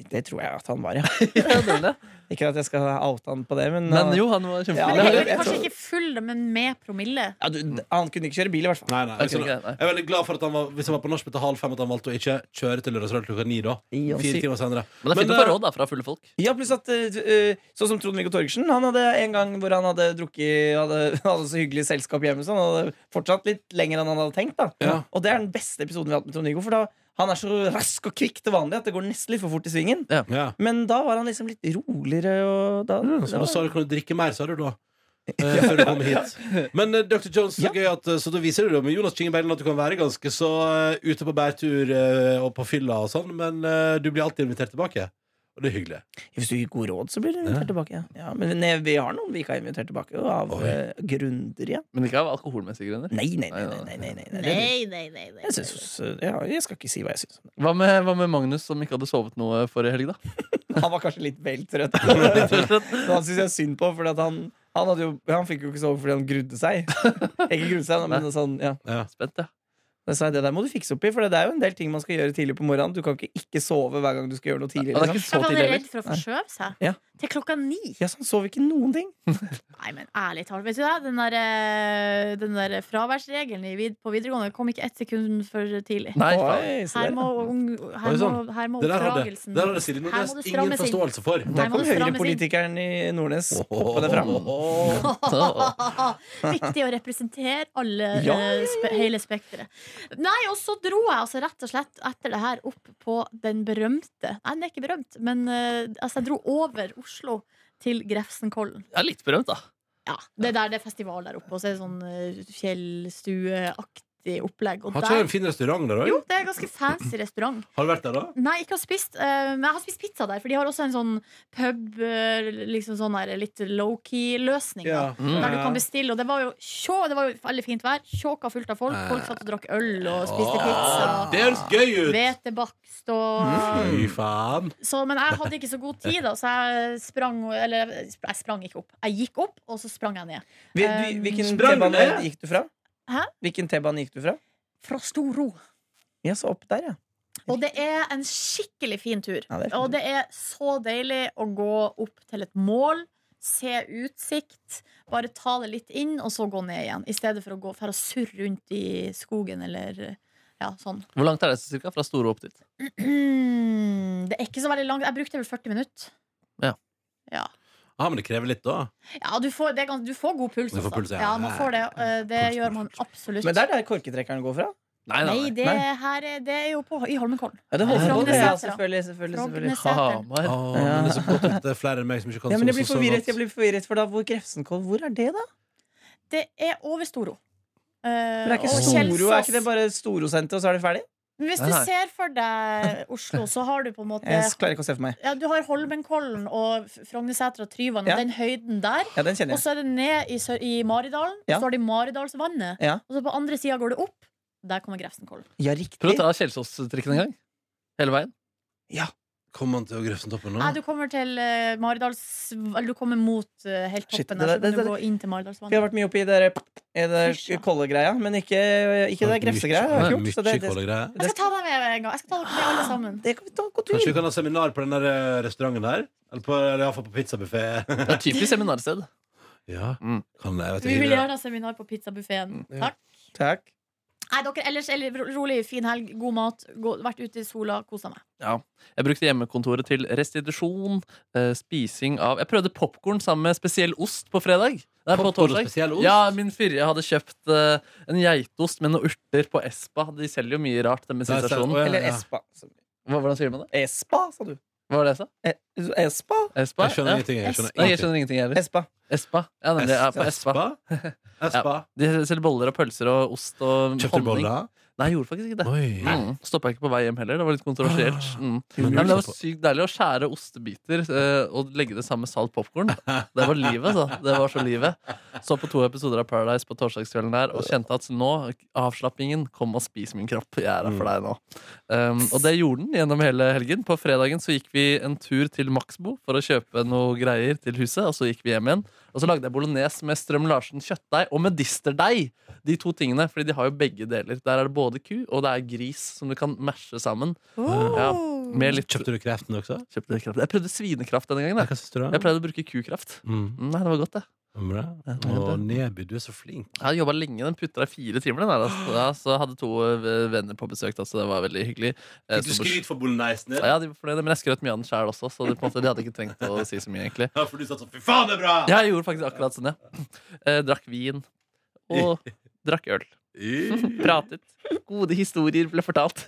S5: det tror jeg at han var, ja.
S4: Ja, dårlig.
S5: Ikke at jeg skal oute han på det, men,
S4: <laughs>
S5: eh,
S4: Men jo, han var
S5: Ja,
S4: kjempefull.
S5: det-
S3: Eller
S5: jeg
S3: kanskje
S5: tror-
S3: ikke full, men med promille.
S5: ja, du, han kunne ikke kjøre bil, i hvert fall.
S2: Nei, nei,
S4: Ok,
S2: sånn-
S4: greit, nei.
S2: Jeg er veldig glad for at han var, Hvis han var på nachspiel til halv fem, at han valgte å ikke kjøre til Lørdagsrevyen klokka ni. da Fire timer senere.
S4: Men det er fint å
S2: Men,
S4: få råd da, fra fulle folk.
S5: Ja, pluss at eh, eh, Sånn som Trond-Viggo Torgersen. Han hadde en gang hvor han hadde drukket hadde, <laughs> hadde så hyggelig selskap hjemme. Så han hadde fortsatt litt lenger enn han hadde tenkt. da
S2: Ja.
S5: Og det er den beste episoden vi har hatt med Trond-Viggo. For da han er så rask og kvikk til vanlig at det går nesten litt for fort i svingen.
S2: eh, Ja.
S5: Men da var han liksom litt roligere. Og da,
S2: Mm, Så
S5: da
S2: da sa du kan du drikke mer, sa du da.
S4: <laughs>
S2: eh, Før du kom hit. Men eh, Dr. Jones, så
S5: Ja.
S2: gøy at eh, Så da viser du det med Jonas Kingebergen at du kan være ganske så eh, ute på bærtur eh, og på fylla og sånn, men eh, du blir alltid invitert tilbake. Og det er hyggelig.
S5: Hvis du gir gode råd, så blir du invitert tilbake. Ja. Ja, men nei, vi har noen vi ikke har invitert tilbake. og Av
S2: Oi.
S5: eh, grunder, ja.
S4: Men ikke av alkoholmessige grunner.
S5: Nei, nei, nei. nei, nei, nei, nei, nei. Det-
S3: Nei, nei, nei. nei.
S5: Jeg, synes, eh, ja, jeg skal ikke si hva jeg syns.
S4: Hva med, hva med Magnus, som ikke hadde sovet noe forrige helg, da?
S5: Han var kanskje litt vel trøtt.
S4: Rett og
S5: <laughs>
S4: slett.
S5: Men han syns jeg synd på, for han, han, hadde jo, han fikk jo ikke sove fordi han grudde seg. Ikke grudde seg, men sånn, ja.
S2: Ja.
S4: Spent, ja.
S5: Da sa jeg det der må du fikse opp i, for det er jo en del ting man skal gjøre tidlig på morgenen. Du kan ikke ikke sove hver gang du skal gjøre noe tidlig.
S4: Og det er
S5: Liksom.
S4: ikke så
S3: Jeg var
S4: tidlig heller.
S3: redd for å forskjøve seg.
S5: Ja.
S3: Til klokka ni.
S5: Ja, så han sov ikke noen ting.
S3: Nei, men ærlig talt, vet du det? Den der, eh, den der fraværsregelen i vid på videregående kom ikke ett sekund for tidlig.
S4: Nei, faen.
S5: Oi, så
S3: Her må,
S5: der.
S3: ung- her
S2: Oi,
S3: må,
S2: sånn.
S3: her må
S2: Det der hadde,
S3: oppdragelsen
S2: der hadde Silje
S3: Her må
S2: Nordnes
S3: det
S2: ingen
S3: strammes inn.
S2: forståelse for.
S5: Der kom
S3: Nei, man må
S5: høyrepolitikeren i Nordnes hoppende fram.
S2: Åh.
S4: Så-
S3: <laughs> Viktig å representere alle,
S5: Ja,
S3: eh, spe, hele spekteret. Nei, og så dro jeg altså rett og slett etter det her opp på den berømte Nei, den er ikke berømt, men eh, altså, jeg dro over Oslo til Grefsenkollen.
S4: Ja, litt berømt, da.
S3: Ja, det er der det er festival der oppe, og så er det sånn eh, fjellstueaktig opplegg. Og
S2: Har ikke
S3: der
S2: jeg en fin restaurant der òg?
S3: Jo, det er en ganske fancy restaurant.
S2: Har du vært der, da?
S3: Nei, ikke har spist, eh, men jeg har spist pizza der, for de har også en sånn pub, eh, liksom sånn der litt low-key-løsning. da.
S4: Mm.
S3: Der du kan bestille, og det var jo sjå, det var jo veldig fint vær. Sjåka fullt av folk. Folk satt og drakk øl og spiste
S2: Åh, Ah, Det
S3: pizza.
S2: høres gøy ut! Mm.
S3: Hvetebakst og
S2: Fy faen.
S3: så, Men jeg hadde ikke så god tid, da, så jeg sprang Eller jeg sprang ikke opp. Jeg gikk opp, og så sprang jeg ned.
S5: Hvil- du- Hvilken
S2: Sprang du
S5: T-bane
S2: ned?
S5: gikk du fra?
S3: Ehm, Hæ?
S5: Hvilken T-bane gikk du fra?
S3: Fra Storo.
S5: Ja, så opp der, ja.
S3: Og det er en skikkelig fin tur.
S5: Ja, det er fint.
S3: og det er så deilig å gå opp til et mål, se utsikt, bare ta det litt inn, og så gå ned igjen. I stedet for å gå for å surre rundt i skogen eller ja, sånn. <clears throat>
S4: Hvor langt er det cirka, fra Store opp dit?
S3: Det er ikke så veldig langt. Jeg brukte vel 40 minutter.
S2: Ja, Ah, men det krever litt, da.
S3: Ja, du får, det er gans, du får god puls.
S2: Du får
S3: altså.
S2: puls, ja.
S3: ja. man får det. Eh, Det
S2: Puls,
S3: gjør
S2: puls,
S3: man absolutt.
S5: Men det er der korketrekkeren går fra.
S4: Nei, nei,
S3: Nei,
S4: nei.
S3: det,
S5: Nei.
S3: her, er- det er jo på, i Holmenkollen.
S5: Ja, det holder på, det. Ja,
S3: Frognersetra.
S5: selvfølgelig, selvfølgelig, selvfølgelig.
S3: Frognerseteren.
S4: Hamar.
S2: Åh, Ah, men det er så godt at det er flere enn meg som sånn ikke kan
S5: Ja, men jeg
S2: sove
S5: blir
S2: så
S5: forvirret,
S2: godt.
S5: jeg blir forvirret for da, hvor Grefsenkollen, hvor er det, da?
S3: Det er over Storo. Eh,
S5: Men det er ikke
S3: og
S5: Storo, er
S3: Kjelsås.
S5: ikke det bare Storosenteret, og så er det ferdig?
S3: Men Hvis du
S4: Nei.
S3: ser for deg Oslo, så har du på en måte
S5: <laughs> Jeg klarer ikke å se for meg.
S3: ja, Du har Holmenkollen og F- Frognerseter og Tryvann
S5: Ja.
S3: og den høyden der.
S5: Ja, den kjenner jeg.
S3: Og så er det ned i, Sør- i Maridalen.
S5: Ja.
S3: Så har de Maridalsvannet.
S5: Ja.
S3: Og så på andre sida går det opp. Der kommer Grefsenkollen.
S5: Ja,
S4: Prøv
S5: riktig.
S4: å ta Kjelsås-trikken en gang. Hele veien.
S2: Kommer man til å Grefsentoppen nå?
S3: Nei, du kommer til eh, Maridals... Eller du kommer mot eh, helt
S5: Shit,
S3: toppen
S5: det der-
S3: der, så kan
S5: det-
S3: du
S5: det-
S3: gå inn
S5: Vi
S3: til
S5: har
S3: Maridalsvannet.
S5: vært mye oppi det der
S3: Fysj, ja.
S5: kollegreia, men ikke, ikke det der grefsegreia.
S2: Mykje-
S5: har jeg ikke gjort,
S2: mykje
S5: Så det, det,
S2: kollegreier.
S3: Jeg skal ta deg med en gang. Jeg skal ta dere med alle sammen.
S5: det kan vi ta gå tur.
S2: Kanskje vi kan ha seminar på den der eh, restauranten der? Eller på, eller iallfall på pizzabuffé.
S4: Det er et typisk seminarsted.
S2: <laughs> Ja.
S4: Mm.
S2: Kan jeg, vet
S3: Vi vil
S2: ikke.
S3: gjerne ha seminar på pizzabuffeen.
S2: Ja.
S3: Takk.
S5: Takk.
S3: Nei, dere, ellers eller, ro- rolig, fin helg, god mat, gå, vært ute i sola, kosa meg.
S4: Jeg brukte hjemmekontoret til restitusjon, eh, spising av Jeg prøvde popkorn sammen med spesiell ost på fredag. Nei, på
S2: Popcorn og
S4: torsdag.
S2: spesiell ost?
S4: Ja, min firje hadde kjøpt eh, en geitost med noen urter på Espa. De selger jo mye rart, den
S2: Der ser- Å,
S4: bensinstasjonen.
S2: ja,
S5: Eller
S2: ja.
S5: Espa.
S4: Hva- Hvordan sier man det?
S5: Espa, sa du.
S4: Hva var det jeg sa?
S5: Eh, Espa?
S4: Espa?
S2: Jeg skjønner
S4: Ja.
S2: ingenting. Jeg skjønner
S4: Nei, jeg
S2: ingenting.
S4: skjønner ingenting heller.
S5: Espa.
S4: Espa. Ja, nemlig, <laughs> ja, på Espa.
S2: Espa? Espa.
S4: De selger boller og pølser og ost og
S2: Kjøpte du boller?
S4: Nei, jeg gjorde faktisk ikke det.
S2: Oi. Ah.
S4: Mm. Stoppa ikke på vei hjem heller. Det var litt kontroversielt. Mm.
S2: Men
S4: Nei, men det var
S2: du-
S4: sykt deilig å skjære ostebiter eh, og legge det sammen med salt popkorn. Det var livet, altså. Det var så livet. Så på to episoder av Paradise på torsdagskvelden der og kjente at nå, avslappingen, kom og spis min kropp. Jeg er her for deg nå. Um, og det gjorde den gjennom hele helgen. På fredagen så gikk vi en tur til Maxbo for å kjøpe noe greier til huset, og så gikk vi hjem igjen. Og så lagde jeg bolognese med Strøm-Larsen kjøttdeig og medisterdeig. De to tingene, fordi de har jo begge deler. Der er det både ku og det er gris som du kan mashe sammen. Ja, med litt
S2: Kjøpte du kreften også?
S4: Kjøpte kraft. Jeg prøvde svinekraft denne gangen.
S2: Hva
S4: Jeg.
S2: syns du da?
S4: jeg pleide å bruke kukraft.
S2: Mm.
S4: Mm, Nei, det var godt, det.
S2: Bra.
S4: Ja, det er
S2: Å,
S4: bra.
S2: Neby, du er så flink.
S4: Jeg hadde jobba lenge. Den putra i fire timer. Den her, altså. ja, så hadde to eh, venner på besøk, da, så det var veldig hyggelig. Eh,
S2: Fikk du
S4: så-
S2: skryt for bolognesen din?
S4: Ja, de var fornøyde, men jeg skrøt mye av den sjæl også, så de, på en måte, de hadde ikke trengt å si så mye, egentlig.
S2: Ja, for du satt sånn Fy faen, det er bra!
S4: Ja, jeg gjorde faktisk akkurat sånn, ja. Eh, drakk vin.
S2: <laughs>
S4: Og drakk øl. Pratet. Gode historier ble <laughs> fortalt.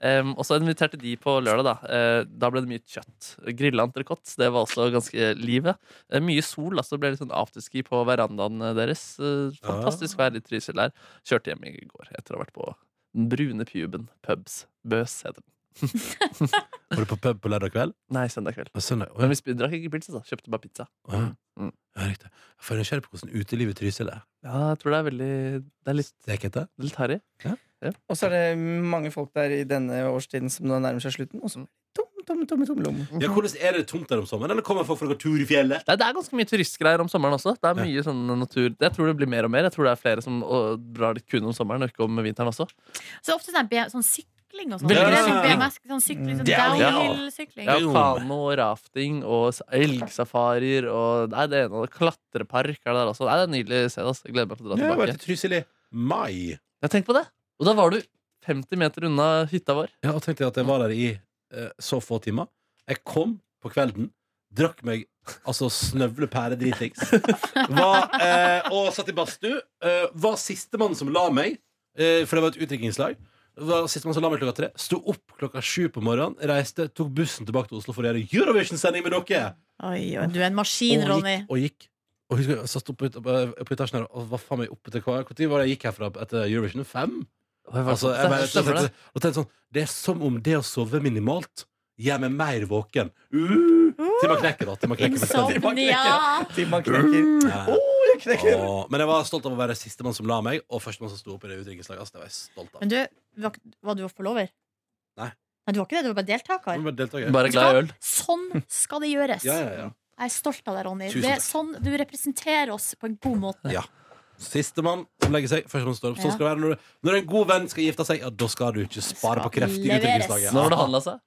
S4: Em, og så inviterte de på lørdag, da. Eh, da ble det mye kjøtt. Grilla entrecôte. Det var også ganske livet. Eh, mye sol, altså. Det ble litt sånn afterski på verandaen deres. Eh, fantastisk vær i Trysil her. Kjørte hjem i går etter å ha vært på den brune puben. Pubs. Bøs heter den.
S2: Var du på pub på lørdag kveld?
S4: Nei, søndag kveld.
S2: Og søndag?
S4: Men vi sp- drakk ikke pils, altså. Kjøpte bare pizza.
S2: Ja,
S4: Mm.
S2: ja riktig. Jeg får nysgjerrig på hvordan utelivet i Trysil er.
S4: Ja, jeg tror det er veldig Det er litt,
S2: Stekete?
S4: litt harry.
S5: Og så er det mange folk der i denne årstiden som da nærmer seg slutten. Og så tom, tom, tom, tom, tom.
S4: Mhm.
S2: Ja, hvordan Er det tomt der om sommeren, eller kommer folk for å gå tur i fjellet?
S4: Nei, det er ganske mye turistgreier om sommeren også. Det er mye sånn natur Jeg tror det blir mer og mer. Jeg tror det er flere som å, drar dit kun om sommeren og ikke om vinteren også.
S3: Så det er ofte sånn, B- sånn sykling og sånn.
S4: Veldig
S3: Dere er
S2: sykling.
S3: sånn BMS, sånn sykling, sånn
S5: Ja.
S3: downhill-sykling.
S4: Ja,
S2: Jo.
S4: Kano og rafting og s- elgsafarier og Nei, det ene og det- klatrepark er det der også. Nei, det er et nydelig sted. Altså. Jeg gleder meg til å dra
S2: Jeg har vært
S4: tilbake.
S2: i Trysil i mai.
S4: Ja, tenk på det! Og da var du 50 meter unna hytta vår.
S2: Ja, og tenkte jeg at jeg var der i eh, så få timer. Jeg kom på kvelden, drakk meg altså snøvle pære dritings. Var, eh, og satt i badstue. Eh, var sistemann som la meg, eh, for det var et utdrikningslag. Var sistemann som la meg klokka tre. Sto opp klokka sju på morgenen, reiste, tok bussen tilbake til Oslo for å gjøre Eurovision-sending med dere.
S3: Oi, oi, du er en maskin,
S2: Og
S3: Ronny.
S2: gikk, og gikk. Og husker jeg satt oppe ut- på etasjen her og var faen meg oppe til hva Når var det jeg gikk herfra etter Eurovision? Fem? Altså, jeg bare,
S4: sånn, Stemmer det?
S2: tenkte, og tenkte sånn Det er som om det å sove minimalt gjør meg mer våken. Uh, til man knekker, da. Til man knekker fullstendig.
S3: Insomnia.
S5: Timene knekker.
S4: Mm.
S2: Ja.
S5: Åh, jeg knekker.
S2: Åh, men jeg var stolt av å være sistemann som la meg, og førstemann som sto opp i det utdrikningslaget. Altså, det var jeg stolt av.
S3: Men du, var, var du forlover?
S2: Nei.
S3: Nei, Du var ikke det, du var bare
S2: Men
S3: deltaker.
S2: bare deltaker.
S4: Bare glad i øl.
S3: Sånn skal det gjøres.
S2: Ja, ja, ja.
S3: Jeg er stolt av deg, Ronny.
S2: Tusen
S3: Det
S2: takk.
S3: er sånn Du representerer oss på en god måte.
S2: Sistemann som legger seg, førstemann som står opp. Sånn
S3: Ja.
S2: skal det være når, du, når en god venn skal gifte seg, ja, da skal du ikke spare på
S3: Skal
S2: kreft i
S3: leveres.
S2: utdrikningslaget.
S4: Når var det han la seg?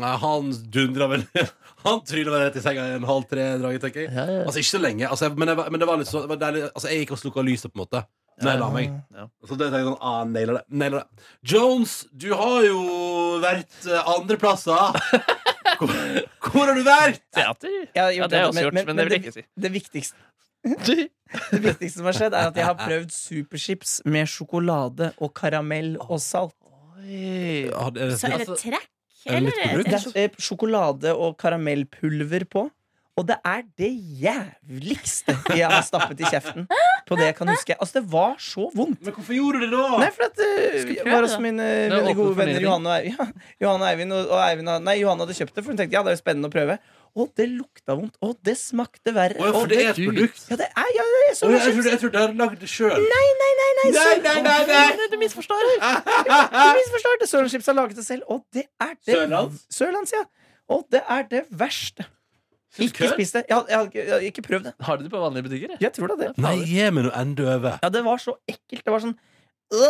S2: Nei, han dundra vel <laughs> Han trylla vel rett i senga i en halv tre-draget, tenker jeg.
S4: Ja, ja, ja.
S2: Altså ikke så lenge, altså, jeg, men, jeg, var- men det var litt så det var deilig. Altså, jeg gikk og slukka lyset, på en måte. Når jeg la meg.
S4: Ja.
S2: Så det tenkte jeg sånn, ah, nailer det, nailer det. Jones, du har jo vært eh, andreplasser. Hvor, hvor har du vært?
S4: Teater?
S5: Jeg har
S4: Ja,
S5: gjort
S4: det har jeg
S5: men-
S4: også gjort, men det vil jeg ikke si.
S5: Det viktigste
S2: <laughs>
S5: det viktigste som har skjedd, er at jeg har prøvd superchips med sjokolade og karamell og salt.
S4: Oi.
S2: Ja, det,
S3: Så er det
S4: Altså,
S3: trekk,
S2: er det
S3: eller?
S2: nytt produkt?
S5: Det er eh, sjokolade og karamellpulver på. Og det er det jævligste jeg har stappet i kjeften. På det jeg kan huske Altså, det var så vondt.
S2: men hvorfor gjorde du det da?
S5: Nei, for at eh,
S3: Skal vi
S5: jeg
S3: prøve
S5: var
S3: det?
S5: hos mine
S4: er
S5: veldig
S4: åpen
S5: gode
S4: for
S5: venner
S4: nye ting.
S5: Johan og Eivind. Ja, Johan og Eivind, og, og Eivind hadde- nei, Johan hadde kjøpt det, for hun tenkte ja, det er jo spennende å prøve. Og det lukta vondt. Og det smakte verre.
S2: Å, ja, for
S5: og
S2: det er et
S4: Gud.
S2: produkt.
S5: Ja, det er, ja, det er
S2: Å,
S5: sånn
S2: jeg
S5: det
S2: trodde jeg trodde jeg hadde lagd det sjøl.
S5: Nei,
S2: Nei,
S5: så-
S2: nei, nei, nei.
S5: Du misforstår. Du misforstår. Det Sørlands Chips har laget det selv, og det er det
S2: Sørlands?
S5: Sørlands, ja. Og det er det verste. Ikke spis det. Jeg har, jeg har, ikke- jeg har ikke prøvd det.
S4: Har de det på vanlige butikker? Ja.
S5: Jeg tror da det.
S2: Nei, gi meg noe enda over.
S5: Ja, det var så ekkelt. Det var sånn øh.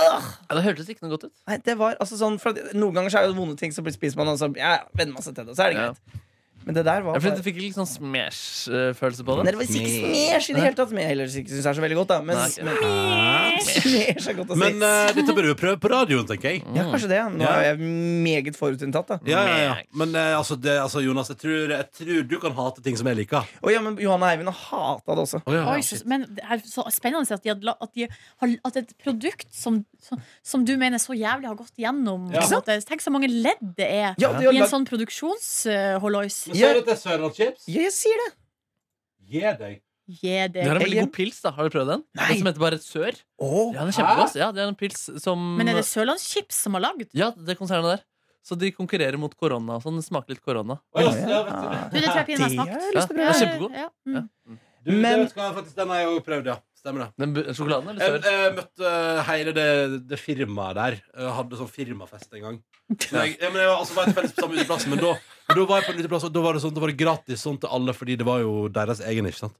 S4: Ja, det hørtes ikke noe godt ut.
S5: Nei, det var altså sånn for at Noen ganger så er det vonde ting, så blir- spiser man, og så ja, ja, venner man seg til det. Så er det
S4: Ja.
S5: greit. Men det der var
S4: Ja, for du
S5: bare
S4: fikk litt sånn smash-følelse på
S5: Nei,
S4: det.
S5: det var ikke smash i det hele tatt, som jeg heller ikke syns er så veldig godt, da. Men,
S4: Nei,
S5: men
S2: Hæ?
S5: <laughs> smash er godt å si.
S2: Men eh, dette bør du jo prøve på radioen, tenker jeg.
S5: ja, kanskje det. ja. Nå
S2: Ja.
S5: er jeg meget forutinntatt, da.
S2: Ja, ja, ja. Men eh, altså, det, altså, Jonas, jeg tror, jeg tror du kan hate ting som jeg liker.
S5: Å ja, men Johanne Eivind har hata det også.
S2: Å, ja, ja.
S3: Oi, så, men det er så spennende at, de hadde, la- at, de har, at et produkt som, som, som du mener så jævlig har gått gjennom
S2: Ja.
S3: på en måte. Tenk så mange ledd det er
S5: Ja, de har
S3: i en
S5: lagd
S3: sånn produksjonsholois.
S2: Men sier du at det er Sørlandschips?
S5: ja, jeg sier det!
S2: Gi deg.
S3: Yeah,
S4: Det
S3: det.
S4: er en
S5: Jeg-
S4: veldig god pils. da Har du prøvd den?
S5: Nei.
S4: Den som heter bare Sør?
S5: Åh,
S4: Ja, den er kjempegodt. Ja, det er en pils som
S3: Men er det Sørlandschips som har lagd?
S4: Ja, det konsernet der. Så de konkurrerer mot korona og sånn. Det smaker litt korona.
S2: Å,
S5: Ja.
S2: ja, ja, vet
S3: Du, det tror jeg
S5: det
S3: pinlig
S5: har
S3: har smakt.
S5: jeg lyst til å
S4: Ja.
S5: prøve. Altså,
S4: Det er kjempegod.
S3: Ja, mm.
S2: du, du,
S5: Men-
S2: det skal jeg faktisk, den har jeg òg prøvd, ja. Stemmer det.
S4: Den bu- sjokoladen eller
S2: Jeg,
S4: Sør?
S2: jeg møtte eh, hele det, det firmaet der. Jeg hadde sånn firmafest
S3: <laughs>
S2: en gang. Men jeg, jeg, men jeg var, altså, var tilfeldigvis på samme uteplass, men da, men da var jeg på en uteplass, og da var det, sånn, da var det gratis sånn til alle, fordi det var jo deres egen, ikke sant?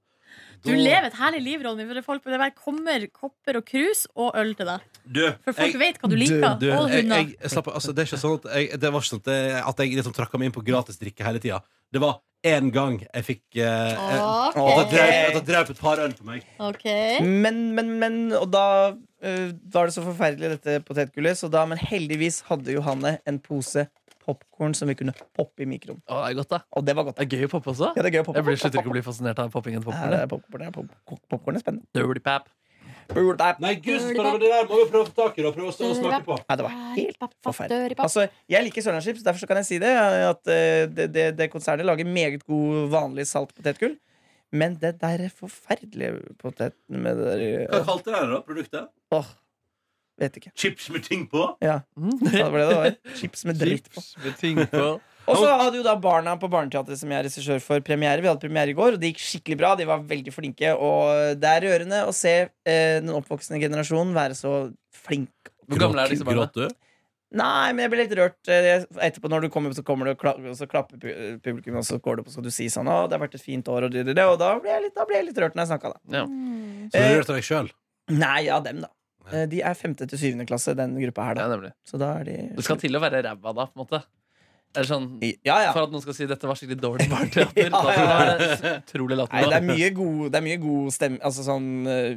S3: Du
S2: Da-
S3: lever et herlig liv, Ronny. For det, folk, det bare kommer kopper og krus og øl til deg.
S2: Du,
S3: For folk
S2: jeg-
S3: vet hva du liker.
S2: Du,
S3: og
S2: jeg,
S3: hunder.
S2: jeg, jeg slapp, altså, det er ikke sånn at jeg, det var ikke sånn at jeg, at jeg liksom trakka meg inn på gratis drikke hele tida. Det var én gang jeg fikk eh, eh,
S3: Ok.
S2: at jeg drev- at jeg drev et par øl på meg.
S3: Ok.
S5: Men, men, men Og da eh, var det så forferdelig, dette potetgullet, så da Men heldigvis hadde Johanne en pose popkorn som vi kunne poppe i mikroen.
S4: Å, det er godt, da.
S5: Og det var godt.
S4: Det er gøy å poppe også.
S5: Ja, det er gøy å poppe.
S4: Jeg blir slutter ikke å bli fascinert av poppingen til
S5: Ja, det
S4: popkornet.
S5: er popcorn, det er pop- Popcorn er spennende.
S4: Dirty pap.
S5: Burp, burp.
S2: Nei, gud, så spennende, men det der må vi prøve å få tak i det og prøve å stå og smake på.
S5: Nei, det var helt forferdelig. Altså, jeg liker Sørlandschips, derfor så kan jeg si det. At eh, det, det, det konsernet lager meget god, vanlig salt potetgull. Men det der forferdelige poteten med det der
S2: Hva kalte dere det da? Produktet?
S5: Åh, vet ikke.
S2: Chips med ting på?
S5: Ja, det var det det var. Chips med dritt på.
S4: Mm. Chips med ting på.
S5: Og så hadde jo da Barna på Barneteatret, som jeg er regissør for, premiere. Vi hadde premiere i går, og det gikk skikkelig bra. De var veldig flinke. Og det er rørende å se eh, den oppvoksende generasjonen være så flink.
S4: Hvor gamle er disse barna?
S2: Gråt du?
S5: Nei, men jeg ble litt rørt. eh, Etterpå, når du kommer, så kommer du og, kla og så klapper pu- eh, publikum, og så går du opp og så skal du si sånn 'Å, det har vært et fint år', og, det, det, det. og da, ble jeg litt, da ble jeg litt rørt når jeg snakka, da.
S4: Ja.
S3: Mm.
S2: Så du rørte deg sjøl?
S5: Nei, ja, dem, da.
S2: Ja.
S5: Eh, De er femte til syvende klasse, den gruppa her,
S4: ja,
S5: da.
S4: nemlig.
S5: Så da er de
S4: Det skal til å være ræva da, på en måte. Eller sånn
S5: Ja, ja.
S4: For at noen skal si dette var skikkelig dårlig
S5: <laughs>
S4: barneteater. Da
S5: Ja, ja, ja.
S4: skal det være utrolig
S5: Nei, det er
S4: latterlig.
S5: mye god, det er mye god stemme Altså sånn eh,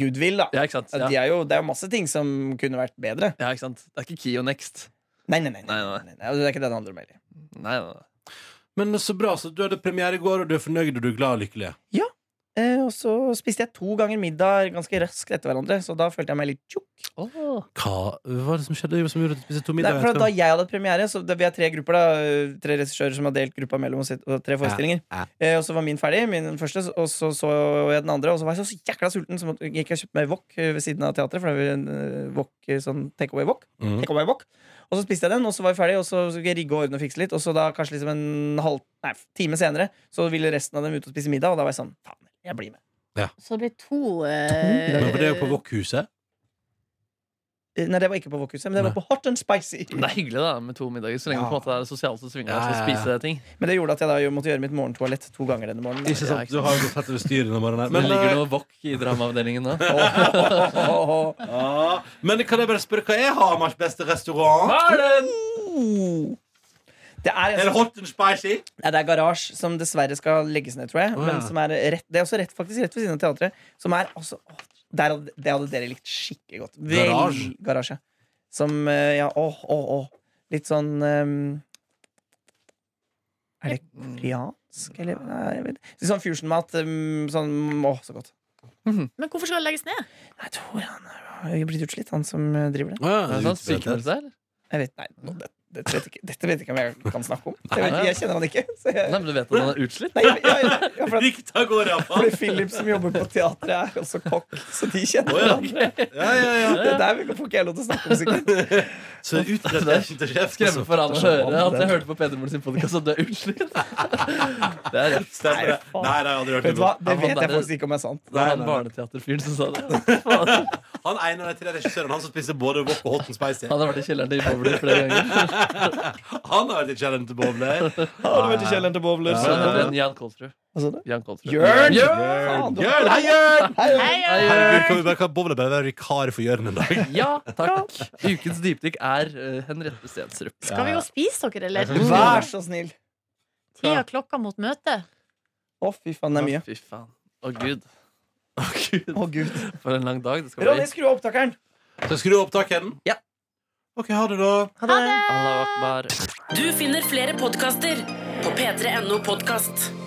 S5: goodwill, da.
S4: Ja, ikke sant?
S5: Ja. De
S4: Ja.
S5: er jo, det er jo masse ting som kunne vært bedre.
S4: ja, ikke sant? Det er ikke Kio next.
S5: Nei, nei, nei. nei,
S4: Nei, nei.
S5: nei, nei. Det er ikke det det handler om heller.
S4: Nei, nei, nei.
S2: Men så bra, så du hadde premiere i går, og du er fornøyd og du er glad og lykkelig.
S5: Eh, og så spiste jeg to ganger middag ganske raskt etter hverandre, så da følte jeg meg litt tjukk.
S4: Åh.
S2: Hva var det som skjedde som gjorde at du spiste to
S5: Nei, for at da jeg hadde premiere, så det, vi er tre grupper, da. eh, Tre regissører som har delt gruppa mellom oss i- og tre forestillinger.
S2: Ja,
S5: Eh, og så var min ferdig, min første, og så så jeg den andre, og så var jeg så jækla sulten, så måtte- gikk jeg og kjøpte meg wok eh, ved siden av teatret, for det er jo en eh, wok, eh, sånn take away wok.
S2: Mhm.
S5: Take away wok. Og så spiste jeg den, og så var jeg ferdig, og så skulle jeg rigge og ordne og fikse litt. Og så da kanskje liksom en halv, nei, time senere så ville resten av dem ut og spise middag, og da var jeg sånn faen, jeg blir med.
S3: Så det blir to eh,
S5: To?
S2: Men var det jo på Wok-huset?
S5: Eh, Nei, det var ikke på Wokhuset, men det var på Hot and Spicy.
S4: Men Det er hyggelig da, med to middager, så lenge
S5: Ja.
S4: det på en måte er sosialt så svinger.
S2: Ja,
S4: og
S2: ja,
S4: skal
S2: ja.
S4: spise ting.
S5: Men det gjorde at jeg da måtte gjøre mitt morgentoalett to ganger denne morgenen.
S2: Ikke sant? Du har jo gått helt over styret denne morgenen. her.
S4: Men det
S5: eh,
S2: Men,
S4: ligger noe wok i dramaavdelingen nå.
S5: Åh.
S2: eh, <laughs> Ja, men kan jeg bare spørre hva er Hamars beste restaurant?
S5: Det er en
S2: Er det hot and spicy?
S5: Nei, det er Garasje, som dessverre skal legges ned, tror jeg.
S2: Å, ja.
S5: Men som er rett, det er også rett, faktisk rett ved siden av teatret. Som er altså å, der, hadde- Det hadde dere likt skikkelig godt. Vel-
S2: Garasje?
S5: Garasje. Som eh, Ja, åh, åh, åh. Litt sånn ehm, Er det koreansk, eller? Nei, jeg vet. ikke. Litt sånn fusion-mat. ehm, sånn Å, så godt.
S3: Men hvorfor skal det legges ned?
S5: Nei, Jeg tror han har blitt utslitt, han som eh, driver det.
S4: Er det sånn sykemeldelse her?
S5: Jeg vet, nei, nå, det, dette, vet jeg ikke, dette vet jeg ikke om jeg kan snakke om. Jeg, vet, ikke, jeg kjenner han ikke. Så jeg,
S4: Nei, men du vet at den er
S5: <laughs>
S4: utslitt?
S5: nei, jeg, jeg, jeg, jeg, for at-
S2: Rikt av gårde,
S5: Fordi
S2: iallfall.
S5: Philip som jobber på teatret er også kokk, så de kjenner
S2: Å, ja.
S5: hverandre.
S2: Ja, ja, ja.
S5: Det der vil- får ikke jeg lov til å snakke om,
S2: <laughs>
S5: sikkert.
S2: Så utbredelsen til sjef altså.
S4: Skremme for alle å
S5: Altså, så-
S4: høre at jeg hørte på Peder Moren sin podkast at du er utslitt. <laughs> Det er rett.
S2: Stemmer det. Nei, nei, jeg har aldri hørt
S5: Vet
S2: det.
S5: du hva?
S2: før.
S5: Det vet jeg faktisk ikke om er sant.
S4: Det er han
S2: nei, nei.
S4: barneteaterfyren som sa det.
S2: Han er en av de tre regissørene Han som spiser både wok og hot and spicy.
S4: Han har vært i kjelleren til Bowler flere ganger.
S2: Han har vært i kjelleren til
S5: <laughs>
S2: bobler.
S5: Har du vært i kjelleren til Bowler?
S4: Så han heter en Jan Kolsrud.
S5: Hva sa du?
S4: Jan Kolsrud.
S5: Jørn! Faen,
S2: Jørn!
S5: du-
S2: Jørn! Hei, Jørn!
S5: Hei,
S3: Hei,
S2: Herregud,
S3: Jørn!
S2: kan vi bare kan bobler bare være vikar for Jørn en dag?
S4: Ja, takk. Ukens dypdykk er eh, Henriette Stensrup.
S3: Skal vi gå og spise dere, eller?
S5: Vær så snill.
S3: Ti av klokka mot møtet.
S5: Å, fy faen, det er mye.
S4: Å, fy faen. Å, gud. Å, gud.
S5: Å, gud.
S4: For en lang dag det skal
S5: Ronny,
S4: bli.
S5: skru av opptakeren!
S2: Så skru av opptakeren.
S5: Ja.
S2: OK, ha det, da.
S5: Ha det!
S4: Allah akbar.
S1: Du finner flere podkaster på p3.no podkast.